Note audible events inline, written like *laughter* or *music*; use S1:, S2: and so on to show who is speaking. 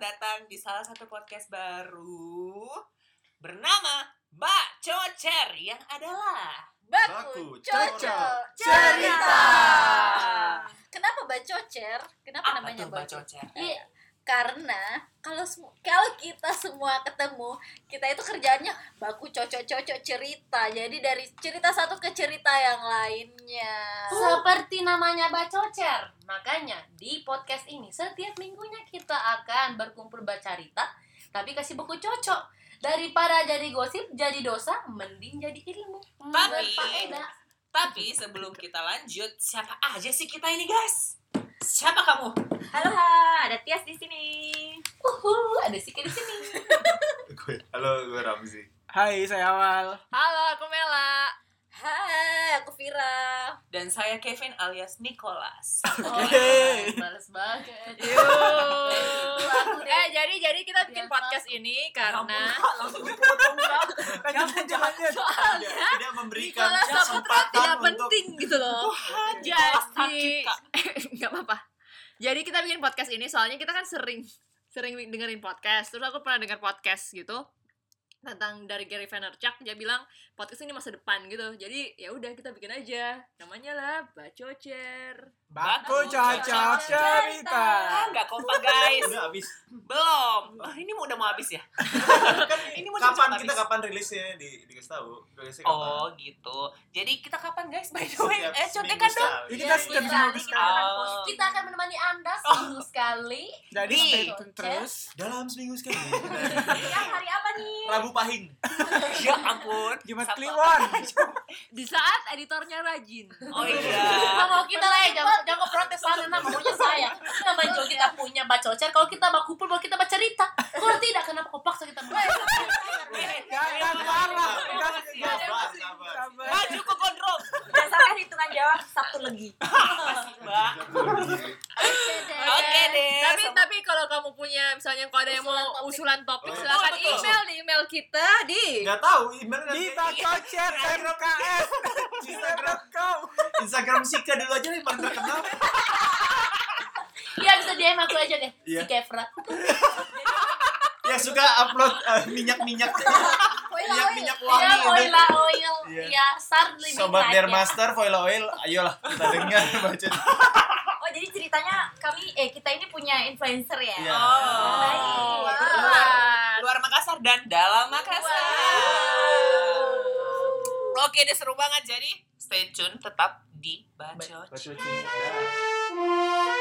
S1: datang di salah satu podcast baru bernama Mbak Cocer yang adalah
S2: Baku,
S3: Baku,
S2: cocok,
S3: cocok,
S2: cerita.
S1: cerita.
S2: Kenapa bacocer? Kenapa
S1: apa
S2: namanya
S1: tuh Mbak Cocer?
S2: bacocer? Iya, karena kalau semu- kalau kita semua ketemu, kita itu kerjaannya baku cocok cocok cerita. Jadi dari cerita satu ke cerita yang lainnya.
S4: Seperti namanya Bacocer, makanya di podcast ini setiap minggunya kita akan berkumpul bacarita, tapi kasih buku cocok. Daripada jadi gosip, jadi dosa, mending jadi ilmu.
S1: Tapi-
S4: Berfaedah.
S1: Tapi sebelum kita lanjut, siapa aja sih kita ini guys? Siapa kamu?
S5: Halo, ada Tias di sini.
S4: Uhuh, ada sikit di *laughs* sini.
S3: Gue, halo, gue Ramzi.
S6: Hai, saya Awal.
S5: Halo, aku Mela.
S2: Hai, aku Vira.
S1: Dan saya Kevin alias Nicholas.
S4: Oh,
S6: Yeay.
S4: males banget. Uhuh.
S5: Yuk. eh, jadi jadi kita bikin
S4: Biasa.
S5: podcast ini kan karena
S1: Kak, langsung dipotong Kak.
S6: Lanjut, lanjut.
S3: Tidak, tidak memberikan
S5: Nicholas Saputra
S3: kesempatan
S5: tidak
S3: untuk
S5: penting gitu loh.
S1: sakit,
S5: Jadi
S1: Kak.
S5: *laughs* nggak apa-apa. Jadi kita bikin podcast ini soalnya kita kan sering sering dengerin podcast. Terus aku pernah denger podcast gitu tentang dari Gary Vaynerchuk dia bilang podcast ini masa depan gitu. Jadi ya udah kita bikin aja. Namanya lah Bacocer.
S6: Baku cocok cerita.
S1: Ah, nggak kompak guys.
S3: *laughs* Udah habis.
S1: Belum. Ah, Ini udah mau habis ya?
S3: Kan
S1: Ini mau
S3: kapan
S1: cocok
S3: kita
S1: habis.
S3: kapan rilisnya di dikasih tahu? Rilisnya kapan?
S1: Oh gitu. Jadi kita kapan guys by the way?
S3: Iya,
S1: Eh
S3: Setiap seminggu
S1: contekan dong.
S3: sekali.
S6: Ini kan
S2: Iya,
S6: kita setiap
S2: iya,
S6: seminggu
S2: iya.
S6: sekali.
S1: Oh.
S4: Kita akan menemani Anda seminggu sekali.
S6: Jadi
S1: Nih.
S6: stay tune terus.
S3: Dalam seminggu sekali. *laughs*
S4: Yang hari apa nih?
S3: Rabu Pahing.
S1: *laughs* Ya ampun.
S6: Jumat
S1: Sama-
S5: *laughs*
S6: Kliwon.
S5: Di saat editornya rajin.
S1: Oh
S6: *laughs*
S4: Nggak
S1: iya.
S4: mau kita lah ya, jangan, jangan protes
S2: *laughs*
S4: sana, nah, maunya saya Namanya juga kita punya bacocer, kalau kita mau kumpul, kalau kita baca cerita Kalau tidak, kenapa kau paksa kita baca
S6: Eh, Jangan marah. Jangan
S3: Sabar,
S6: jangan-
S3: sabar.
S6: sabar.
S1: Eh, *laughs* Maju ke gondrong.
S5: Dasarnya hitungan jawab Sabtu
S1: *laughs*
S5: legi.
S1: Mbak. Oke deh.
S5: tapi
S1: Sama-
S5: tapi kalau kamu punya misalnya kalau ada yang mau
S2: Usulan
S5: usulan topik
S2: topik.
S3: Oh,
S5: silakan
S1: betul, betul.
S5: email di email kita di
S3: Gak tahu email nanti.
S6: Di Baku Cer MKS. Instagram.com.
S3: Instagram Sika dulu aja nih paling terkenal.
S4: Ya bisa DM aku aja deh,
S3: Iya.
S4: si Kevra
S3: Ya suka upload eh, minyak-minyak minyak-minyak
S5: Iya,
S3: wangi.
S4: Ya,
S3: gitu.
S4: oil lah, oil
S3: Iya.
S4: Ya, sar lebih
S3: Sobat Dermaster, Voila Oil, ayolah kita dengar baca.
S2: Oh, jadi ceritanya kami eh kita ini punya influencer ya.
S3: Iya.
S1: Oh.
S2: Baik.
S5: Wah.
S1: Luar Makassar dan dalam Makassar. Oke deh seru banget jadi stay tune tetap di Bacot.
S6: Baku cinta.